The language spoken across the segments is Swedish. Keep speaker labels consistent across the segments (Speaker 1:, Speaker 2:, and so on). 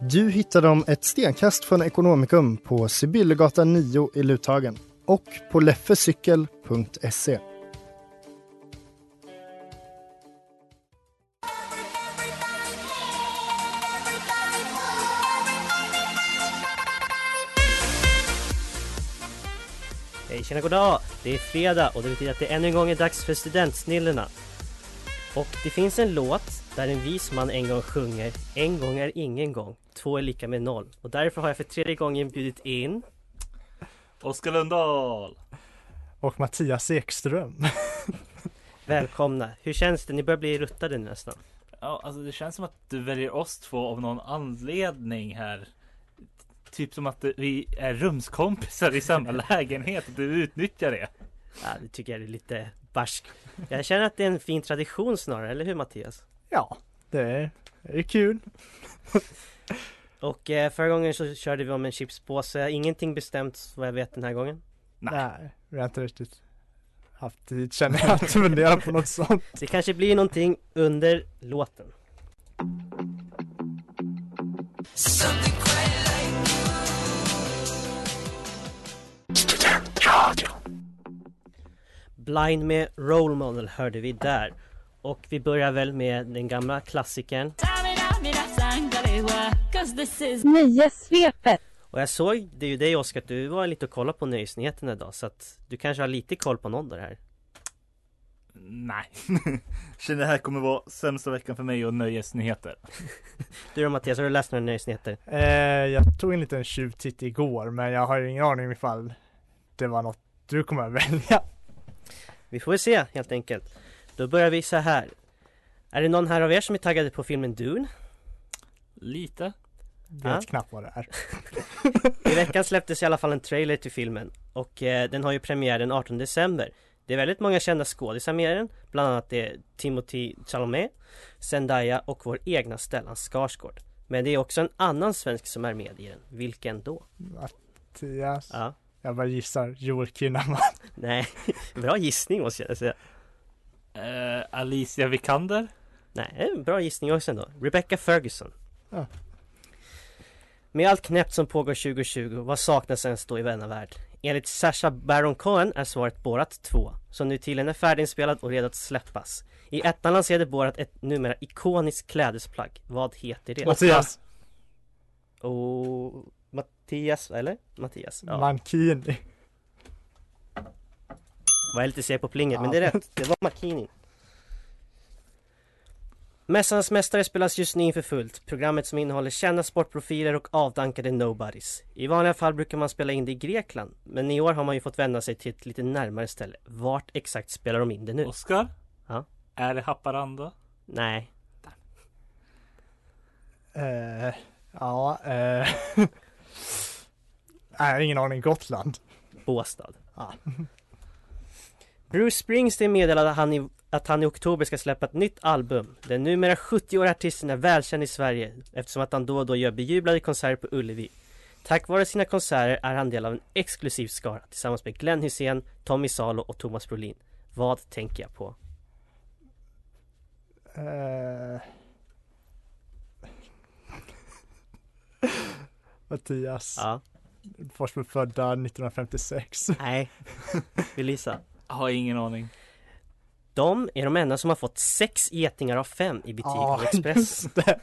Speaker 1: Du hittar dem ett stenkast från Ekonomikum på Sibyllegatan 9 i Luthagen och på leffecykel.se.
Speaker 2: Hej tjena goddag! Det är fredag och det betyder att det ännu en gång är dags för Studentsnillena. Och det finns en låt där en vis man en gång sjunger En gång är ingen gång, två är lika med noll. Och därför har jag för tredje gången bjudit in
Speaker 3: Oskar Lundahl!
Speaker 4: och Mattias Ekström.
Speaker 2: Välkomna! Hur känns det? Ni börjar bli ruttade nu nästan.
Speaker 3: Ja, alltså det känns som att du väljer oss två av någon anledning här. Typ som att vi är rumskompisar i samma lägenhet och du utnyttjar det.
Speaker 2: Ja, det tycker jag är lite barsk. Jag känner att det är en fin tradition snarare, eller hur Mattias?
Speaker 4: Ja, det är, det är kul.
Speaker 2: Och eh, förra gången så körde vi om en chipspåse. Ingenting bestämt vad jag vet den här gången.
Speaker 4: Nej. vi har inte riktigt haft tid känner jag att fundera på något sånt.
Speaker 2: Det kanske blir någonting under låten. Blind med Role Model hörde vi där. Och vi börjar väl med den gamla klassikern.
Speaker 5: Nöjessvepet.
Speaker 2: Och jag såg det är ju dig Oskar, att du var lite och kollade på nyhetsnyheterna idag så att du kanske har lite koll på någon av det här.
Speaker 3: Nej. Känner det här kommer vara sämsta veckan för mig och nöjesnyheter.
Speaker 2: Du då Mattias, har du läst några nyhetsnyheter?
Speaker 4: Eh, jag tog en liten tjuvtitt igår men jag har ju ingen aning ifall det var något du kommer att välja.
Speaker 2: Vi får väl se helt enkelt. Då börjar vi så här. Är det någon här av er som är taggade på filmen Dune?
Speaker 3: Lite.
Speaker 4: Vet
Speaker 2: Ja.
Speaker 4: knappt vad det är.
Speaker 2: I veckan släpptes i alla fall en trailer till filmen och eh, den har ju premiär den 18 december. Det är väldigt många kända skådisar med i den, bland annat det är Timothy Chalamet, Zendaya och vår egna Stellan Skarsgård. Men det är också en annan svensk som är med i den. Vilken då?
Speaker 4: Mattias.
Speaker 2: Ja,
Speaker 4: Jag bara gissar Joel Kinnaman.
Speaker 2: nej, bra gissning måste jag säga.
Speaker 3: Eh, Alicia Vikander.
Speaker 2: Nej, en bra gissning också ändå. Rebecca Ferguson.
Speaker 4: Ja.
Speaker 2: Med allt knäppt som pågår 2020, vad saknas ens då i denna värld? Enligt Sasha Baron Cohen är svaret Borat 2, som nu tydligen är färdiginspelad och redo att släppas. I ettan lanserade Borat ett numera ikoniskt klädesplagg. Vad heter det?
Speaker 4: Mattias.
Speaker 2: Och... Mattias, eller? Mattias? Ja.
Speaker 4: Mankini.
Speaker 2: Var jag lite seg på plinget, men det
Speaker 4: Ja.
Speaker 2: är rätt. Det var Makini. Mästarnas Mästare spelas just nu inför fullt. Programmet som innehåller kända sportprofiler och avdankade nobodies. I vanliga fall brukar man spela in det i Grekland, men i år har man ju fått vända sig till ett lite närmare ställe. Vart exakt spelar de in det nu?
Speaker 3: Oskar?
Speaker 2: Ja.
Speaker 3: Är det Haparanda?
Speaker 2: Nej,
Speaker 4: Eh, ja, eh. Nej, ingen aning. Gotland.
Speaker 2: Båstad.
Speaker 4: Ja.
Speaker 2: Bruce Springsteen meddelade han i, att han i oktober ska släppa ett nytt album. Den numera 70-åriga artisten är välkänd i Sverige eftersom att han då och då gör bejublade konserter på Ullevi. Tack vare sina konserter är han del av en exklusiv skara tillsammans med Glenn Hysén, Tommy Salo och Thomas Brolin. Vad tänker jag på?
Speaker 4: Eh. Mattias,
Speaker 2: Ja,
Speaker 4: Forsberg födda 1956.
Speaker 2: nej. Vill Lisa?
Speaker 3: Har ingen aning.
Speaker 2: De är de enda som har fått sex getingar av fem i betyg
Speaker 4: Ja,
Speaker 2: av Express.
Speaker 4: just det.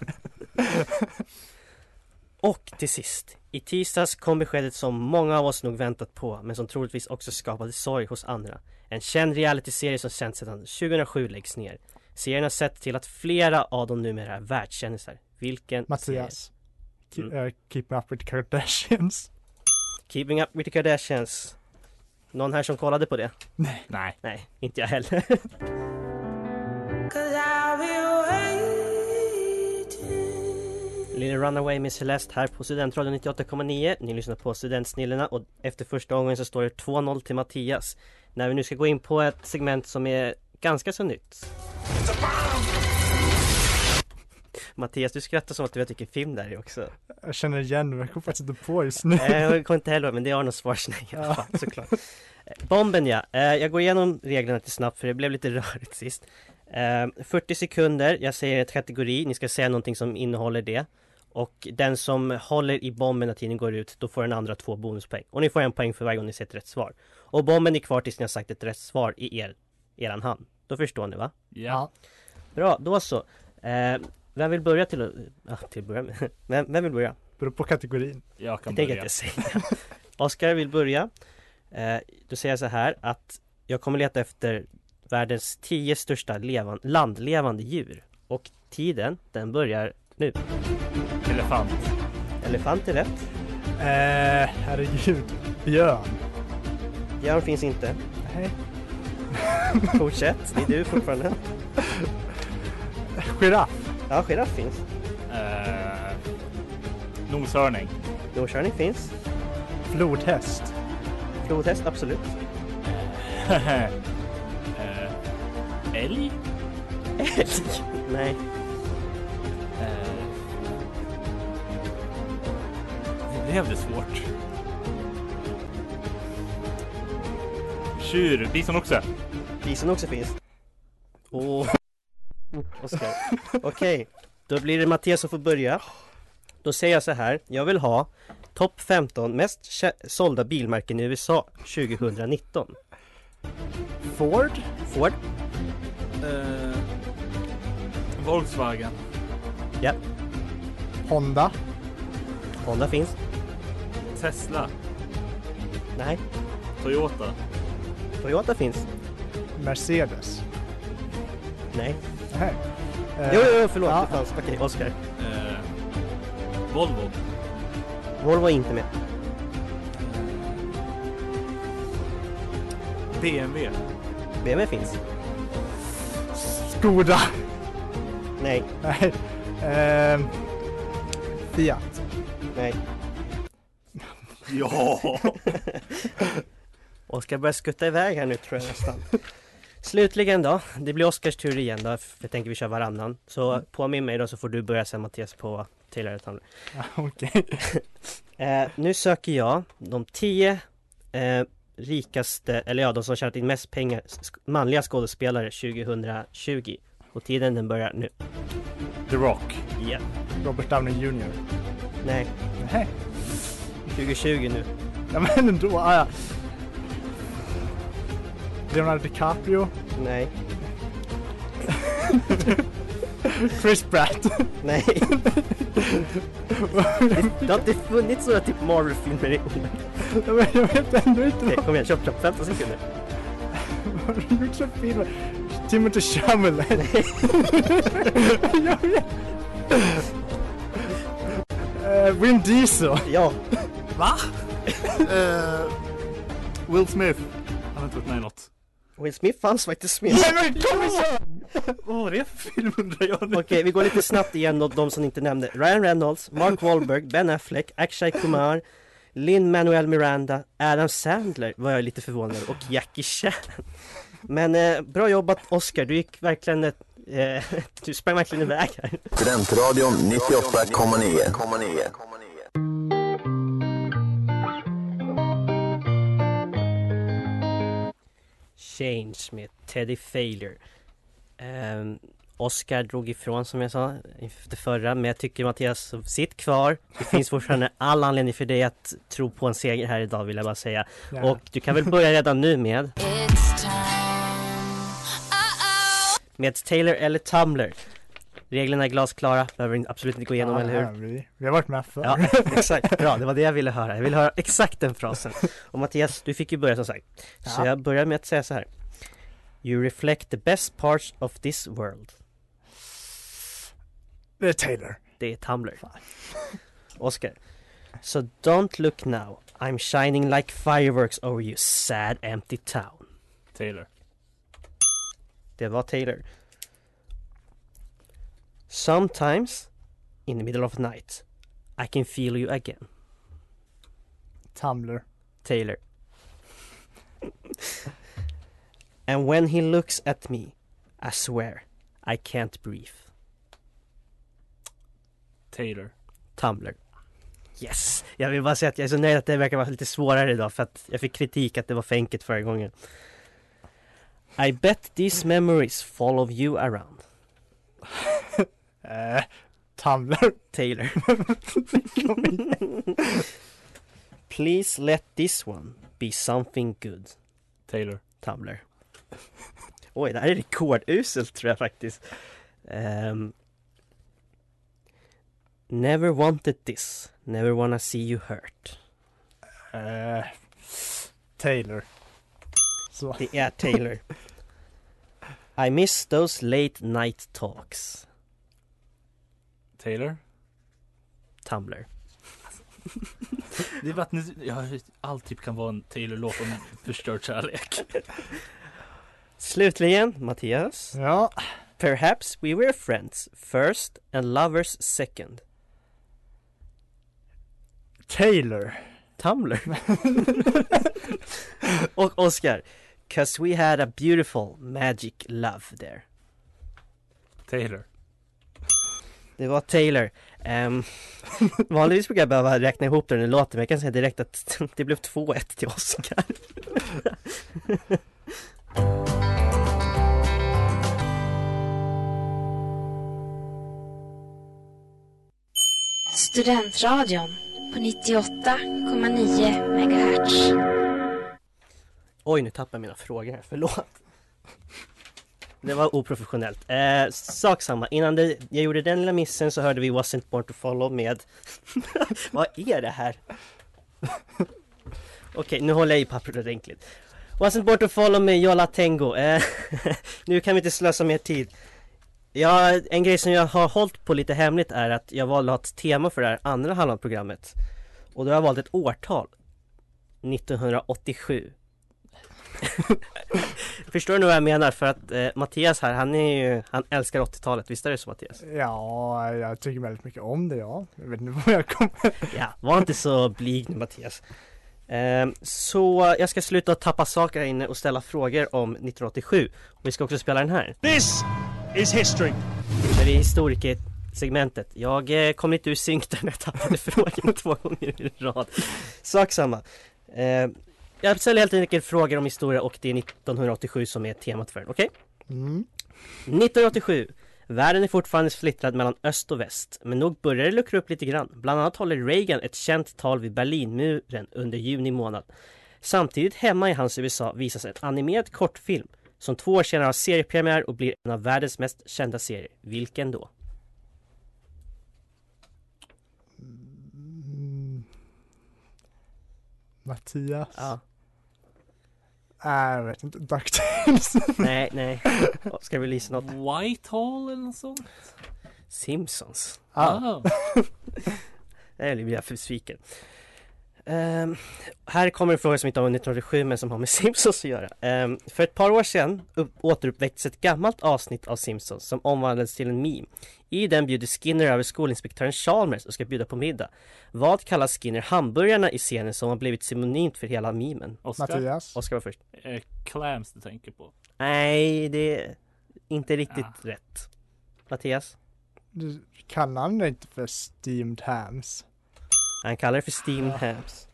Speaker 2: Och till sist, i tisdags kom beskedet som många av oss nog väntat på, men som troligtvis också skapade sorg hos andra. En känd realityserie som sänds sedan 2007 läggs ner. Serien har sett till att flera av dem numera är världskändisar. Vilken serie?
Speaker 4: Mattias. Ke-
Speaker 3: Mm.
Speaker 4: eh, keep me up with the Kardashians.
Speaker 2: Keeping up with the Kardashians. Någon här som kollade på det?
Speaker 3: Nej.
Speaker 2: Nej, inte jag heller. Lille Runaway med Celeste här på Studentradion 98,9 Ni lyssnar på Studentsnillena och efter första gången så står det 2-0 till Mattias När vi nu ska gå in på ett segment som är ganska så nytt Mattias, du skrattar som att du vet vilken film det här är också
Speaker 4: Jag känner igen men jag kommer faktiskt inte på just nu.
Speaker 2: Eh, Jag kom inte heller men det har nog svarsnägg i alla fall såklart. Eh, Bomben ja, Eh, jag går igenom reglerna lite snabbt för det blev lite rörigt sist. Eh, 40 sekunder, jag säger ett kategori, ni ska säga någonting som innehåller det. Och den som håller i bomben när tiden går ut, då får den andra två bonuspoäng. Och ni får en poäng för varje gång ni säger ett rätt svar. Och bomben är kvar tills ni har sagt ett rätt svar i er, eran hand. Då förstår ni va?
Speaker 3: Ja.
Speaker 2: Bra, då så. Eh, vem vill börja till att... Ja, till att börja med. Vem, vem vill börja?
Speaker 4: Beror på kategorin.
Speaker 3: Jag kan
Speaker 2: Det tänker
Speaker 3: börja.
Speaker 2: jag inte säga. Oskar vill börja. Eh, då säger jag så här att jag kommer leta efter världens tio största levan, landlevande djur. Och tiden, den börjar nu.
Speaker 3: Elefant.
Speaker 2: Elefant är rätt.
Speaker 4: Eh, herregud. Björn.
Speaker 2: Björn finns inte.
Speaker 4: Nej.
Speaker 2: Fortsätt, det är du fortfarande.
Speaker 4: Giraff.
Speaker 2: Ja, giraff finns.
Speaker 3: Eh, noshörning.
Speaker 2: Noshörning finns.
Speaker 4: Flodhäst.
Speaker 2: Flodhäst, absolut.
Speaker 3: Eh, Älg?
Speaker 2: Älg? Nej.
Speaker 3: Eh, det blev det svårt. Tjur, bisonoxe.
Speaker 2: Grisen också finns. Åh. Oskar. Okej, då blir det Mattias som får börja. Då säger jag så här, jag vill ha topp 15 mest kä- sålda bilmärken i USA 2019.
Speaker 4: Ford.
Speaker 2: Ford,
Speaker 3: Eh, Volkswagen.
Speaker 2: ja,
Speaker 4: Honda.
Speaker 2: Honda finns.
Speaker 3: Tesla.
Speaker 2: Nej,
Speaker 3: Toyota.
Speaker 2: Toyota finns.
Speaker 4: Mercedes.
Speaker 2: Nej.
Speaker 4: Nej. Eh,
Speaker 2: Jo, jo, jo förlåt,
Speaker 4: Ja.
Speaker 2: det fanns. Okej, Oskar.
Speaker 3: Eh, Volvo.
Speaker 2: Volvo är inte med.
Speaker 3: BMW.
Speaker 2: BMW finns.
Speaker 4: Skoda.
Speaker 2: Nej,
Speaker 4: Nej. Ehm, Fiat.
Speaker 2: nej.
Speaker 3: Ja!
Speaker 2: Oskar börjar skutta iväg här nu tror jag nästan. Slutligen då, det blir Oskars tur igen då, för jag tänker vi kör varannan. Så påminn mig då så får du börja sen Mattias på Taylor Tumbler.
Speaker 4: Okej.
Speaker 2: Eh, nu söker jag de tio eh, rikaste, eller ja de som tjänat in mest pengar, sk- manliga skådespelare 2020. Och tiden den börjar nu.
Speaker 3: The Rock.
Speaker 2: Ja,
Speaker 4: Robert Downey Jr.
Speaker 2: nej,
Speaker 4: Nej.
Speaker 2: 2020 nu.
Speaker 4: Ja men ändå. Ah, ja. Leonardo DiCaprio.
Speaker 2: Nej,
Speaker 4: Chris Pratt.
Speaker 2: nej. det har inte funnits några typ Marvel-filmer i år.
Speaker 4: jag, vet, jag vet ändå inte
Speaker 2: Okej,
Speaker 4: vad
Speaker 2: Kom igen, köp, köp, 15 sekunder.
Speaker 4: vad har du gjort för filmer. Timothy Chalamet. jag vet. Eh, Vin Diesel.
Speaker 2: Ja,
Speaker 6: Eh, Will Smith.
Speaker 3: Han har inte varit med i något.
Speaker 2: Will Smith fanns faktiskt med.
Speaker 4: Nej men kom igen!
Speaker 3: Vad var det för film undrar jag nu?
Speaker 2: Okej, vi går lite snabbt igen då, de som inte nämnde. Ryan Reynolds, Mark Wahlberg, Ben Affleck, Akshay Kumar, Lin-Manuel Miranda, Adam Sandler var jag lite förvånad över, och Jackie Chan. Men eh, bra jobbat Oscar, du gick verkligen ett, eh, du sprang verkligen iväg här.
Speaker 5: Studentradion 98,9.
Speaker 2: Change med Teddy Failure. Ehm, Oscar drog ifrån som jag sa efter förra, men jag tycker Mattias, sitt kvar. Det finns fortfarande all anledning för dig att tro på en seger här idag vill jag bara säga. Och du kan väl börja redan nu med? Med Taylor eller Tumblr. Reglerna är glasklara, behöver vi absolut inte gå igenom,
Speaker 4: Ja,
Speaker 2: eller hur?
Speaker 4: Vi, vi har varit med förr.
Speaker 2: Ja, exakt. Bra, det var det jag ville höra. Jag ville höra exakt den frasen. Och Mattias, du fick ju börja som sagt. Så
Speaker 4: Ja.
Speaker 2: jag börjar med att säga så här. You reflect the best parts of this world.
Speaker 4: Det är Taylor.
Speaker 2: Det är Tumblr. Oscar. So don't look now. I'm shining like fireworks over you sad empty town.
Speaker 3: Taylor.
Speaker 2: Det var Taylor. Sometimes in the middle of night I can feel you again.
Speaker 4: Tumblr.
Speaker 2: Taylor. And when he looks at me, I swear I can't breathe.
Speaker 3: Taylor.
Speaker 2: Tumblr. Yes! Jag vill bara säga att jag är så nöjd att det verkar vara lite svårare idag för att jag fick kritik att det var för enkelt förra gången. I bet these memories follow you around.
Speaker 4: Eh, Tumblr.
Speaker 2: Taylor. Please let this one be something good.
Speaker 3: Taylor.
Speaker 2: Tumblr. Oj, det här är rekorduselt tror jag faktiskt. Ehm. never wanted this, never wanna see you hurt.
Speaker 4: Eh, Taylor. Så.
Speaker 2: Det är Taylor. I miss those late night talks.
Speaker 3: Taylor.
Speaker 2: Tumblr.
Speaker 3: Det är bara att nu, ja, allt typ kan vara en Taylor-låt om förstörd kärlek.
Speaker 2: Slutligen, Mattias.
Speaker 4: Ja.
Speaker 2: Perhaps we were friends first and lovers second.
Speaker 4: Taylor.
Speaker 2: Tumblr. Och Oscar. Cause we had a beautiful magic love there.
Speaker 3: Taylor.
Speaker 2: Det var Taylor. Ehm, vanligtvis brukar jag behöva räkna ihop den i låten men jag kan säga direkt att det blev 2-1 till Oscar.
Speaker 7: Studentradion på 98,9 MHz.
Speaker 2: Oj, nu tappade jag mina frågor här, förlåt. Det var oprofessionellt. Eh, sak samma, innan det, jag gjorde den lilla missen så hörde vi Wasn't Born to Follow med... Vad är det här? Okej, nu håller jag i pappret ordentligt. Wasn't Born to Follow med Jola Tengo. Eh, nu kan vi inte slösa mer tid. Ja, en grej som jag har hållit på lite hemligt är att jag valde att ha ett tema för det här andra halvan av programmet. Och då har jag valt ett årtal. 1987. Förstår du nu vad jag menar? För att eh, Mattias här, han är ju, han älskar 80-talet, visst är det så Mattias?
Speaker 4: Ja, jag tycker väldigt mycket om det ja. Jag vet inte vad jag kommer...
Speaker 2: Ja, var inte så blyg nu Mattias. Ehm, så jag ska sluta tappa saker här inne och ställa frågor om 1987. Och vi ska också spela den här.
Speaker 8: This is history.
Speaker 2: Det är historikersegmentet. Jag eh, kom lite ur synk där när jag tappade frågan två gånger i rad. Sak samma. Ehm, jag ställer helt enkelt frågor om historia och det är 1987 som är temat för den, okej?
Speaker 4: Mm.
Speaker 2: 1987. Världen är fortfarande splittrad mellan öst och väst, men nog börjar det luckra upp lite grann. Bland annat håller Reagan ett känt tal vid Berlinmuren under juni månad. Samtidigt hemma i hans USA visas en animerad kortfilm som två år senare har seriepremiär och blir en av världens mest kända serier. Vilken då?
Speaker 4: Mm. Mattias.
Speaker 2: Ja.
Speaker 4: Nej, jag vet inte. DuckTales.
Speaker 2: Nej, nej. Ja, Ska vi lyssna något?
Speaker 3: Whitehall eller något sånt?
Speaker 2: Simpsons.
Speaker 3: Ah.
Speaker 2: Nej, nu blir jag besviken. Ehm, här kommer en fråga som inte har med 1987 men som har med Simpsons att göra. Ehm, för ett par år sedan upp, återuppväcktes ett gammalt avsnitt av Simpsons som omvandlades till en meme. I den bjuder Skinner över skolinspektören Chalmers och ska bjuda på middag. Vad kallar Skinner hamburgarna i scenen som har blivit synonymt för hela memen?
Speaker 3: Oscar?
Speaker 4: Mattias.
Speaker 2: Oskar var först.
Speaker 3: Eh, clams du tänker på.
Speaker 2: Nej, det är inte riktigt
Speaker 3: Ah.
Speaker 2: rätt. Mattias?
Speaker 4: Du kallar han det inte för steamed hams?
Speaker 2: Han kallar det för steamed hams.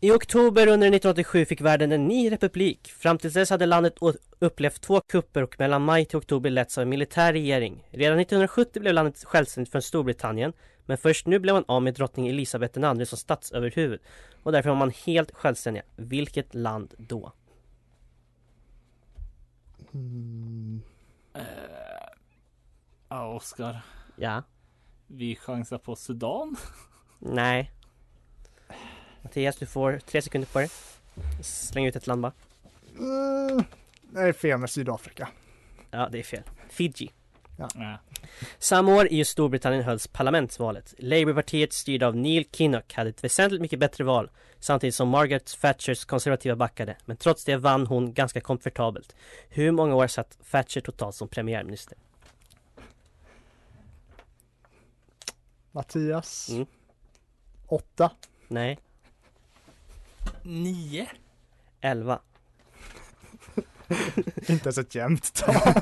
Speaker 2: I oktober under 1987 fick världen en ny republik. Fram till dess hade landet å- upplevt två kupper och mellan maj till oktober letts av en militär regering. Redan 1970 blev landet självständigt från Storbritannien, men först nu blev man av med drottning Elisabeth II som statsöverhuvud och därför var man helt självständiga. Vilket land då?
Speaker 4: Mm.
Speaker 3: Eh, Ja, Oskar.
Speaker 2: Ja?
Speaker 3: Vi chansar på Sudan.
Speaker 2: Nej. Mattias, du får tre sekunder på dig. Släng ut ett land bara.
Speaker 4: Mm, det är fel med Sydafrika.
Speaker 2: Ja, det är fel. Fiji.
Speaker 4: Ja.
Speaker 3: Ja.
Speaker 2: Samma år i just Storbritannien hölls parlamentsvalet. Labourpartiet styrda av Neil Kinnock hade ett väsentligt mycket bättre val samtidigt som Margaret Thatchers konservativa backade. Men trots det vann hon ganska komfortabelt. Hur många år satt Thatcher totalt som premiärminister?
Speaker 4: Mattias.
Speaker 2: Mm.
Speaker 4: Åtta.
Speaker 2: Nej,
Speaker 3: Nio.
Speaker 2: elva.
Speaker 4: Inte ens ett jämnt tal.
Speaker 2: Under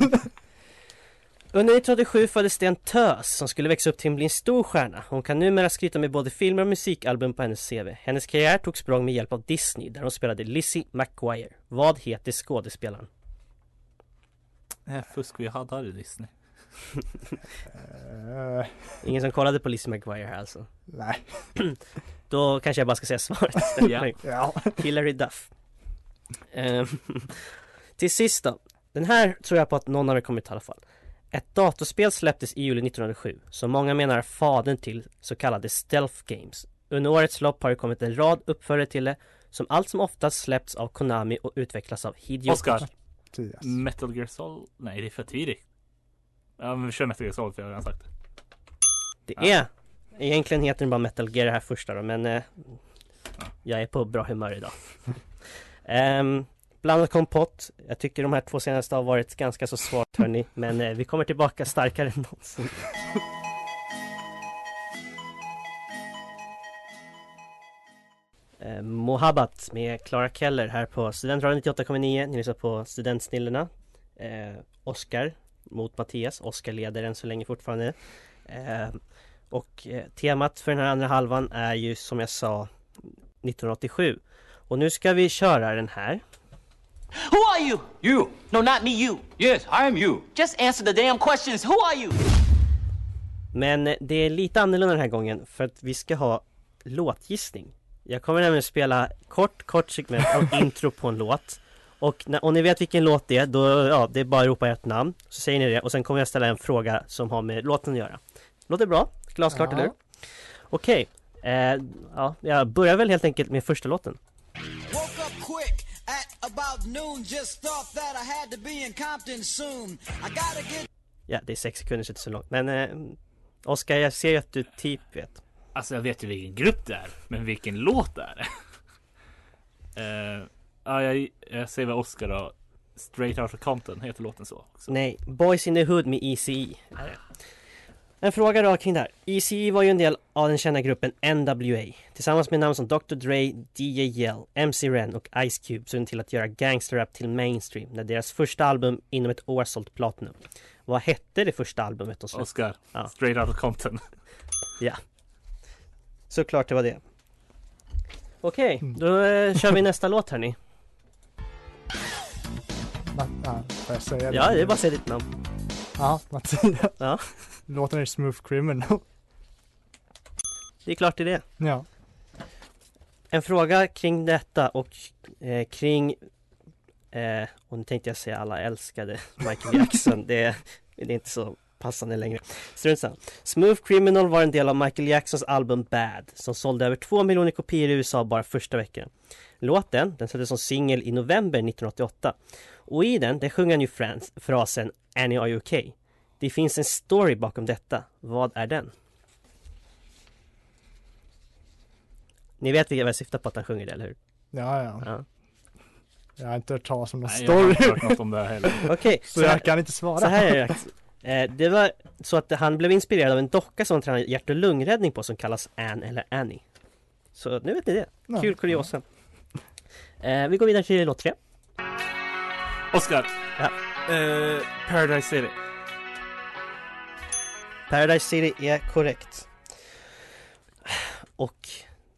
Speaker 2: 1987 föddes det en tös som skulle växa upp till att bli en stor stjärna. Hon kan numera skryta med både filmer och musikalbum på hennes CV. Hennes karriär tog språng med hjälp av Disney där hon spelade Lizzie McGuire. Vad heter skådespelaren?
Speaker 3: Nej, fusk. Vi hade aldrig Disney.
Speaker 4: Eh,
Speaker 2: Ingen som kollade på Lizzie McGuire här alltså.
Speaker 4: nej.
Speaker 2: Då kanske jag bara ska säga svaret istället.
Speaker 3: Ja.
Speaker 4: Ja.
Speaker 2: Hillary Duff. Ehm, till sist då. Den här tror jag på att någon av er kommer ta i alla fall. Ett datorspel släpptes i juli 1907 som många menar är fadern till så kallade stealth games. Under årets lopp har det kommit en rad uppföljare till det som allt som oftast släppts av Konami och utvecklas av Hideo
Speaker 3: Oscar.
Speaker 4: Mattias.
Speaker 2: Mm.
Speaker 3: Metal Gear Solid. Nej, det är för tidigt. Ja, men vi kör Metal Gear Solid för jag har redan sagt det.
Speaker 2: Det
Speaker 3: Ja.
Speaker 2: är Egentligen heter den bara Metal Gear det här första då men eh, Jag är på bra humör idag um, Blandat kompott Jag tycker de här två senaste har varit ganska så svagt hörni Men eh, vi kommer tillbaka starkare än någonsin Eh, Mohabbat med Clara Keller här på Studentradion 98,9 Ni lyssnar på Studentsnillena eh, Oskar mot Mattias Oskar leder än så länge fortfarande Eh, och eh, temat för den här andra halvan är ju som jag sa 1987. Och nu ska vi köra den här.
Speaker 9: Who are you? You. No, not me, you. Yes, I am you. Just answer the damn questions. Who are you?
Speaker 2: Men eh, det är lite annorlunda den här gången för att vi ska ha låtgissning. Jag kommer nämligen spela kort, kort segment av intro på en låt. Och när, om ni vet vilken låt det är, då, ja, det är bara att ropa ert namn. Så säger ni det och sen kommer jag ställa en fråga som har med låten att göra. Låter bra? Glasklart,
Speaker 4: Ja.
Speaker 2: eller hur? Okej. Eh, ja, jag börjar väl helt enkelt med första låten.
Speaker 10: Woke up quick at about noon. Just thought that I had to be in Compton soon. I gotta get
Speaker 2: Ja, det är sex sekunder så det är inte så långt. Men eh, Oskar, jag ser ju att du typ vet.
Speaker 3: Alltså jag vet ju vilken grupp det är, men vilken låt det är. Eh, ja, jag, jag säger vad Oscar då. Straight Outta Compton heter låten så. Också.
Speaker 2: Nej, Boys in the Hood med ECE. En fråga då kring det här. ECE E var ju en del av den kända gruppen NWA. Tillsammans med namn som Dr. Dre, DJ Yell, MC Ren och Ice Cube såg de till att göra gangsterrap till mainstream när deras första album inom ett år sålt platinum. Vad hette det första albumet de släppte?
Speaker 3: Oscar,
Speaker 2: Ja.
Speaker 3: Straight Outta Compton.
Speaker 2: Såklart det var det. Okej, då eh, kör vi nästa låt hörni.
Speaker 4: Ma- ja, får jag säga
Speaker 2: Ja, det är bara att säga ditt namn.
Speaker 4: Ja, Mattias.
Speaker 2: Ja.
Speaker 4: Låten är Smooth Criminal.
Speaker 2: Det är klart det är det.
Speaker 4: Ja.
Speaker 2: En fråga kring detta och eh, kring eh, Och nu tänkte jag säga alla älskade Michael Jackson det, det är inte så passande längre Strunt samma. Smooth Criminal var en del av Michael Jacksons album Bad Som sålde över 2 miljoner kopior i USA bara första veckan Låten, den släpptes som singel i november 1988 Och i den, den sjunger han ju frans, frasen Annie are you okay? Det finns en story bakom detta, vad är den? Ni vet vilka jag syftar på att han sjunger det, eller hur?
Speaker 4: Ja, ja.
Speaker 2: Ja.
Speaker 4: Jag har inte hört talas om någon
Speaker 3: Nej, jag har inte
Speaker 4: story.
Speaker 3: hört något om det här heller.
Speaker 2: Okej,
Speaker 4: Så jag kan inte svara.
Speaker 2: Så här är det. Eh, Det var så att han blev inspirerad av en docka som han tränade hjärt och lungräddning på som kallas Ann eller Annie. Så nu vet ni det.
Speaker 4: Ja.
Speaker 2: Kul kuriosa. Eh, Vi går vidare till låt tre.
Speaker 3: Oscar!
Speaker 2: Ja.
Speaker 3: Eh, Paradise City.
Speaker 2: Paradise City är korrekt. Och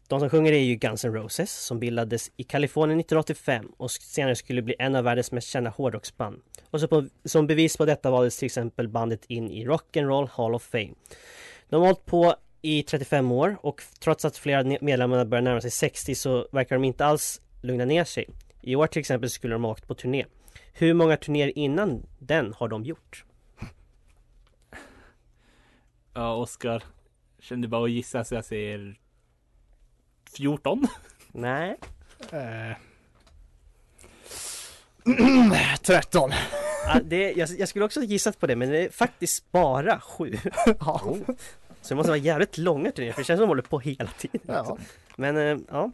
Speaker 2: de som sjunger är ju Guns N' Roses som bildades i Kalifornien 1985 och senare skulle bli en av världens mest kända hårdrocksband. Och så på, som bevis på detta valdes till exempel bandet in i Rock'n'Roll Hall of Fame. De har hållit på i 35 år och trots att flera ne- medlemmarna börjar närma sig 60 så verkar de inte alls lugna ner sig. I år till exempel skulle de ha åkt på turné. Hur många turnéer innan den har de gjort?
Speaker 3: Ja, Oskar. Kände bara att gissa så jag säger 14.
Speaker 2: Nej.
Speaker 4: Eh. 13.
Speaker 2: Ja, det, jag, jag skulle också ha gissat på det men det är faktiskt bara sju. Oh. Så det måste vara jävligt långa turneringar för det känns som de håller på hela tiden.
Speaker 4: Ja.
Speaker 2: Men eh, ja.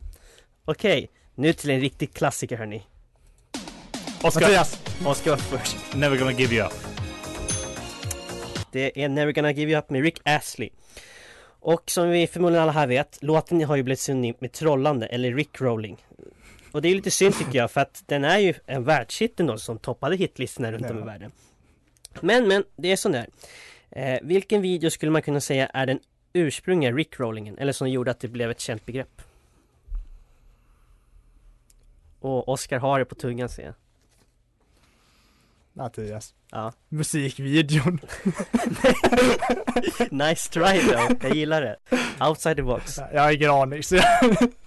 Speaker 2: Okej, nu till en riktig klassiker hörni.
Speaker 3: Oscar.
Speaker 2: Mattias! Oscar var först.
Speaker 3: Never gonna give you up.
Speaker 2: Det är Never gonna give you up med Rick Astley. Och som vi förmodligen alla här vet, låten har ju blivit synonymt med trollande eller rickrolling. Och det är ju lite synd tycker jag för att den är ju en världshit ändå som toppade hitlistorna runt om i
Speaker 11: Ja.
Speaker 2: världen. Men men, det är sån där. Eh, vilken video skulle man kunna säga är den ursprungliga rickrollingen? Eller som gjorde att det blev ett känt begrepp? Och Oscar har det på tungan ser jag.
Speaker 4: Mattias.
Speaker 2: Ja.
Speaker 4: Musikvideon.
Speaker 2: nice try though, jag gillar det. Outside the box.
Speaker 4: Jag har ingen aning så jag...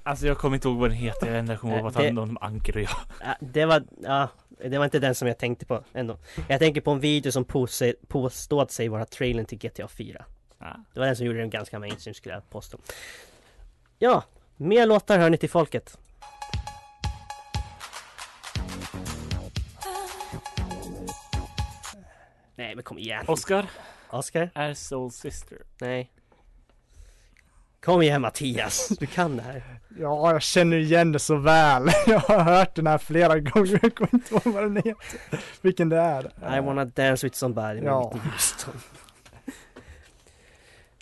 Speaker 3: Alltså jag kommer inte ihåg vad den heter. Jag enda jag kommer ihåg
Speaker 2: Eh,
Speaker 3: var att
Speaker 2: det-
Speaker 3: han någon med Anker och jag.
Speaker 2: Ja, det var, ja, det var inte den som jag tänkte på ändå. Jag tänker på en video som påse- påstått sig vara trailern till GTA 4. Det var den som gjorde den ganska mainstream skulle jag påstå. Ja, mer låtar hör ni till folket. Nej men kom igen.
Speaker 3: Oscar.
Speaker 2: Oscar.
Speaker 3: Är Soul Sister.
Speaker 2: Nej. Kom igen Mattias, du kan det här.
Speaker 4: Ja, jag känner igen det så väl. Jag har hört den här flera gånger. Jag kommer inte ihåg vad den heter. Vilken det är.
Speaker 2: I wanna dance with somebody med
Speaker 4: Ja.
Speaker 2: Whitney Houston.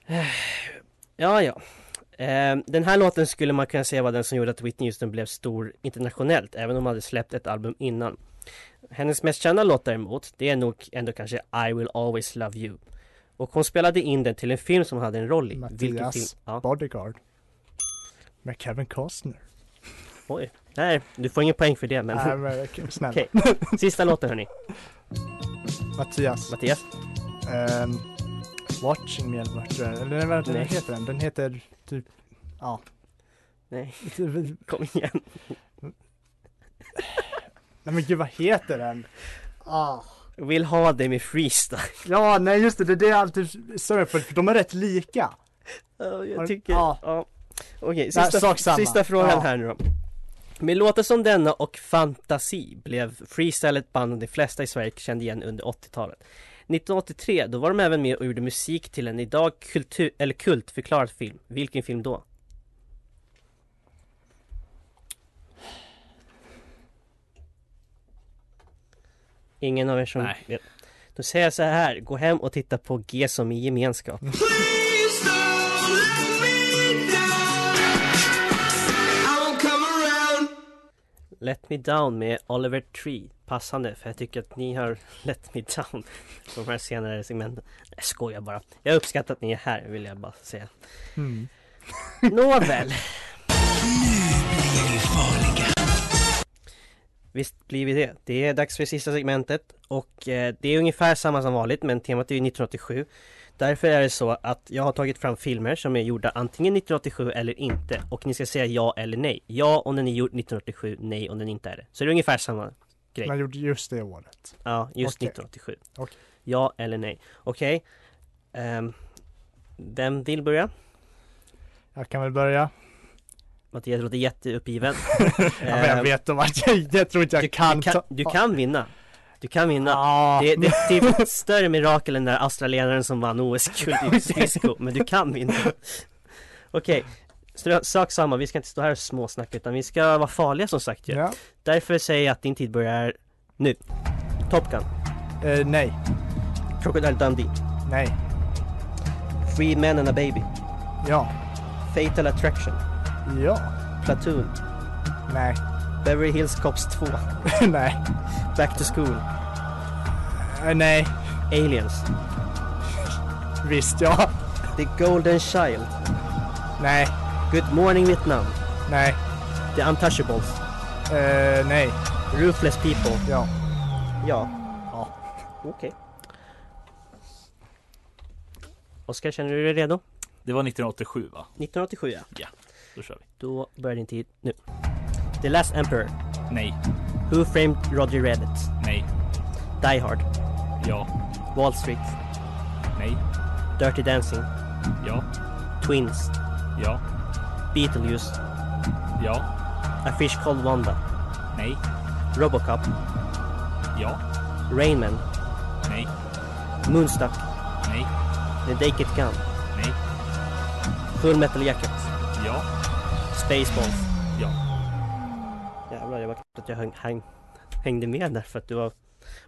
Speaker 2: ja, ja. Ehm, Den här låten skulle man kunna säga var den som gjorde att Whitney Houston blev stor internationellt, även om hon hade släppt ett album innan. Hennes mest kända låt däremot, det är nog ändå kanske I will always love you. Och hon spelade in den till en film som hon hade en roll i. Vilken film?
Speaker 4: Mattias Bodyguard. Med Kevin Costner.
Speaker 2: Oj. Nej, du får ingen poäng för det men...
Speaker 4: Nej, men okej, snälla.
Speaker 2: Okej, sista låten hörni.
Speaker 4: Mattias.
Speaker 2: Mattias.
Speaker 4: Ehm, watching me eller vad tror jag- eller vad den
Speaker 2: Nej.
Speaker 4: heter den? Den heter typ, ja.
Speaker 2: Nej, kom igen.
Speaker 4: Nej men gud vad heter den? Ah.
Speaker 2: Vill ha dig med freestyle.
Speaker 4: Ja, nej just det, det är det jag alltid stör mig på, för de är rätt lika.
Speaker 2: Ja,
Speaker 4: Har-
Speaker 2: jag tycker...
Speaker 4: ja.
Speaker 2: Ja. Okej,
Speaker 4: Nej,
Speaker 2: sista,
Speaker 4: sak samma.
Speaker 2: sista frågan
Speaker 4: Ja.
Speaker 2: här nu då. Med låtar som denna och Fantasi blev freestyle ett band de flesta i Sverige kände igen under 80-talet. 1983, då var de även med och gjorde musik till en idag kultur, eller kultförklarad film. Vilken film då? Ingen av er som vet. Då säger jag så här, gå hem och titta på G som i gemenskap. Let Me Down med Oliver Tree Passande för jag tycker att ni har Let Me Down på de här senare segmenten Jag skojar bara Jag uppskattar att ni är här vill jag bara säga
Speaker 4: Mm.
Speaker 2: Nåväl Visst blir vi det. Det är dags för sista segmentet och eh, det är ungefär samma som vanligt men temat är ju 1987. Därför är det så att jag har tagit fram filmer som är gjorda antingen 1987 eller inte och ni ska säga ja eller nej. Ja om den är gjord 1987, nej om den inte är det. Så det är ungefär samma grej.
Speaker 4: Man gjorde just det året.
Speaker 2: Ja, just
Speaker 4: Okej.
Speaker 2: 1987.
Speaker 4: Okej.
Speaker 2: Ja eller nej. Okej. Ehm, vem vill börja?
Speaker 4: Jag kan väl börja.
Speaker 2: Mattias låter jätteuppgiven.
Speaker 4: Ja, men jag
Speaker 2: Ehm,
Speaker 4: vet om att jag, jag tror inte jag kan,
Speaker 2: du kan,
Speaker 4: ta... Ah.
Speaker 2: du kan vinna. Du kan vinna. Det, det, det är ett större mirakel än den där australienaren som vann OS-guld i disco, men du kan vinna. Okej, okay. sak samma, vi ska inte stå här och småsnacka utan vi ska vara farliga som sagt ju.
Speaker 4: Ja.
Speaker 2: Därför säger jag att din tid börjar nu. Top Gun,
Speaker 4: Eh, nej,
Speaker 2: Crocodile Dundee,
Speaker 4: nej,
Speaker 2: Free Man and a Baby,
Speaker 4: ja,
Speaker 2: Fatal Attraction,
Speaker 4: ja,
Speaker 2: Platoon,
Speaker 4: nej,
Speaker 2: Beverly Hills Cops 2,
Speaker 4: nej,
Speaker 2: Back to School,
Speaker 4: eh, nej,
Speaker 2: Aliens,
Speaker 4: visst ja,
Speaker 2: The Golden Child,
Speaker 4: nej,
Speaker 2: Good Morning Vietnam,
Speaker 4: nej,
Speaker 2: The Untouchables,
Speaker 4: eh, nej,
Speaker 2: Ruthless People.
Speaker 4: ja,
Speaker 2: Ja.
Speaker 4: Ja.
Speaker 2: Okej. Oskar, känner du dig redo?
Speaker 3: Det var 1987 va?
Speaker 2: 1987 ja.
Speaker 3: Ja, då kör vi.
Speaker 2: Då börjar din tid nu. The Last Emperor.
Speaker 3: Nej,
Speaker 2: Who Framed Roger Rabbit?
Speaker 3: nej,
Speaker 2: Die Hard.
Speaker 3: ja,
Speaker 2: Wall Street.
Speaker 3: nej,
Speaker 2: Dirty Dancing.
Speaker 3: Ja.
Speaker 2: Twins.
Speaker 3: Ja.
Speaker 2: Beetlejuice.
Speaker 3: Ja.
Speaker 2: A Fish Called Wanda.
Speaker 3: Nej.
Speaker 2: Robocop.
Speaker 3: Ja.
Speaker 2: Rainman.
Speaker 3: Nej.
Speaker 2: Moonstuck.
Speaker 3: Nej.
Speaker 2: The Naked Gun.
Speaker 3: Nej.
Speaker 2: Full Metal Jacket.
Speaker 3: Ja.
Speaker 2: Spaceballs.
Speaker 3: Ja.
Speaker 2: Jävlar, jag var knappt att jag häng, häng, hängde med där för att du var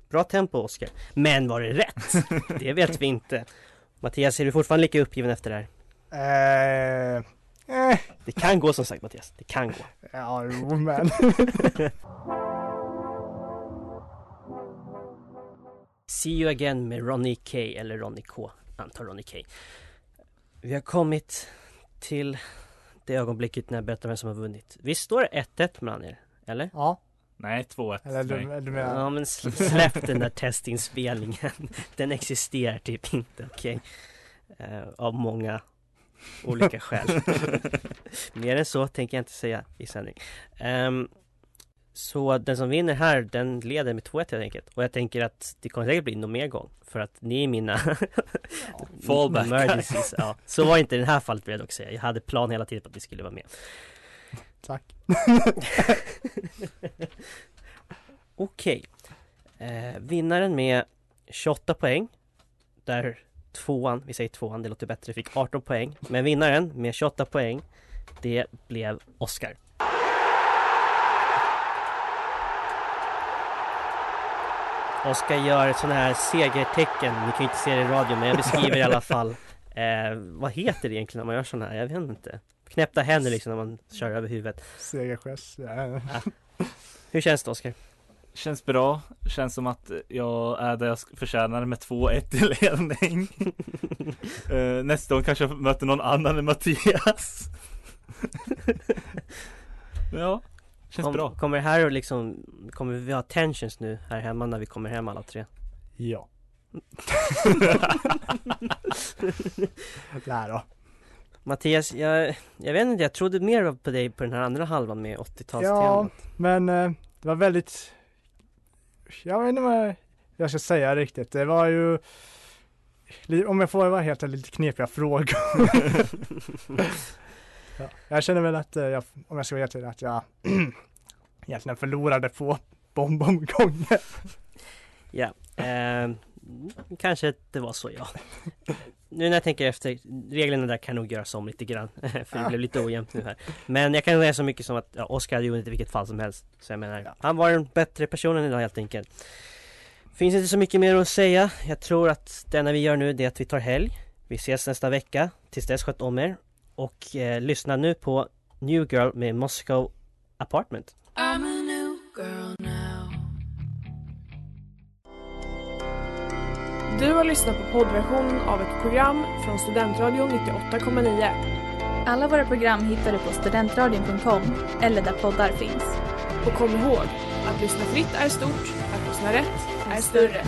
Speaker 2: bra tempo Oscar. Men var det rätt? det vet vi inte. Mattias, är du fortfarande lika uppgiven efter det här?
Speaker 4: Eh, eh,
Speaker 2: Det kan gå som sagt Mattias, det kan gå.
Speaker 4: ja, jo, men.
Speaker 2: See you again med Ronnie K eller Ronnie K, antar Ronnie K. Vi har kommit till det ögonblicket när jag berättar vem som har vunnit. Visst står det 1-1 mellan er? Eller?
Speaker 4: ja,
Speaker 3: Nej, 2-1.
Speaker 4: eller du,
Speaker 3: Nej.
Speaker 4: du menar.
Speaker 2: Ja men sl- släpp den där testinspelningen. Den existerar typ inte, okej? Eh, av många olika skäl. Mer än så tänker jag inte säga i sändning. Ehm, så den som vinner här, den leder med 2-1 helt enkelt. Och jag tänker att det kommer säkert bli någon mer gång. För att ni är mina
Speaker 3: Fallback.
Speaker 2: emergencies. Ja. Så var inte i det här fallet vill jag dock säga. Jag hade plan hela tiden på att ni skulle vara med.
Speaker 4: Tack.
Speaker 2: Okej. Eh, vinnaren med 28 poäng. Där tvåan, vi säger tvåan, det låter bättre, fick 18 poäng. Men vinnaren med 28 poäng, det blev Oscar. Oscar gör ett sånt här segertecken, ni kan ju inte se det i radio men jag beskriver i alla fall eh, Vad heter det egentligen när man gör sån här? Jag vet inte Knäppta händer liksom när man kör över huvudet
Speaker 4: Segergest. Ja.
Speaker 2: Hur känns det Oscar?
Speaker 3: Känns bra. Känns som att jag är där jag sk- förtjänar med 2-1 i ledning. Eh, nästa gång kanske jag möter någon annan än Mattias. ja, känns
Speaker 2: Kom,
Speaker 3: bra.
Speaker 2: Kommer det här och liksom, kommer vi ha tensions nu här hemma när vi kommer hem alla tre?
Speaker 4: ja. Nej då.
Speaker 2: Mattias, jag, jag vet inte, jag trodde mer på dig på den här andra halvan med 80-talstemat
Speaker 4: Ja, men eh, det var väldigt, jag vet inte vad jag ska säga riktigt. Det var ju, li- om jag får vara helt ärlig, lite knepiga frågor. ja, jag känner väl att, eh, jag, om jag ska vara helt ärlig, att jag egentligen förlorade på bombomgången.
Speaker 2: Ja, eh, kanske det var så ja. Nu när jag tänker efter, reglerna där kan nog göras om lite grann. För det blev lite ojämnt nu här. Men jag kan säga så mycket som att ja, Oscar hade vunnit i vilket fall som helst. Så jag menar, han var den bättre personen idag helt enkelt. Finns inte så mycket mer att säga. Jag tror att det enda vi gör nu det är att vi tar helg. Vi ses nästa vecka. Tills dess sköt om er. Och eh, lyssna nu på New Girl med Moscow Apartment.
Speaker 11: I'm a new girl now.
Speaker 12: Du har lyssnat på poddversion av ett program från Studentradion 98,9.
Speaker 13: Alla våra program hittar du på studentradion.com eller där poddar finns.
Speaker 12: Och kom ihåg, att lyssna fritt är stort, att lyssna rätt är större.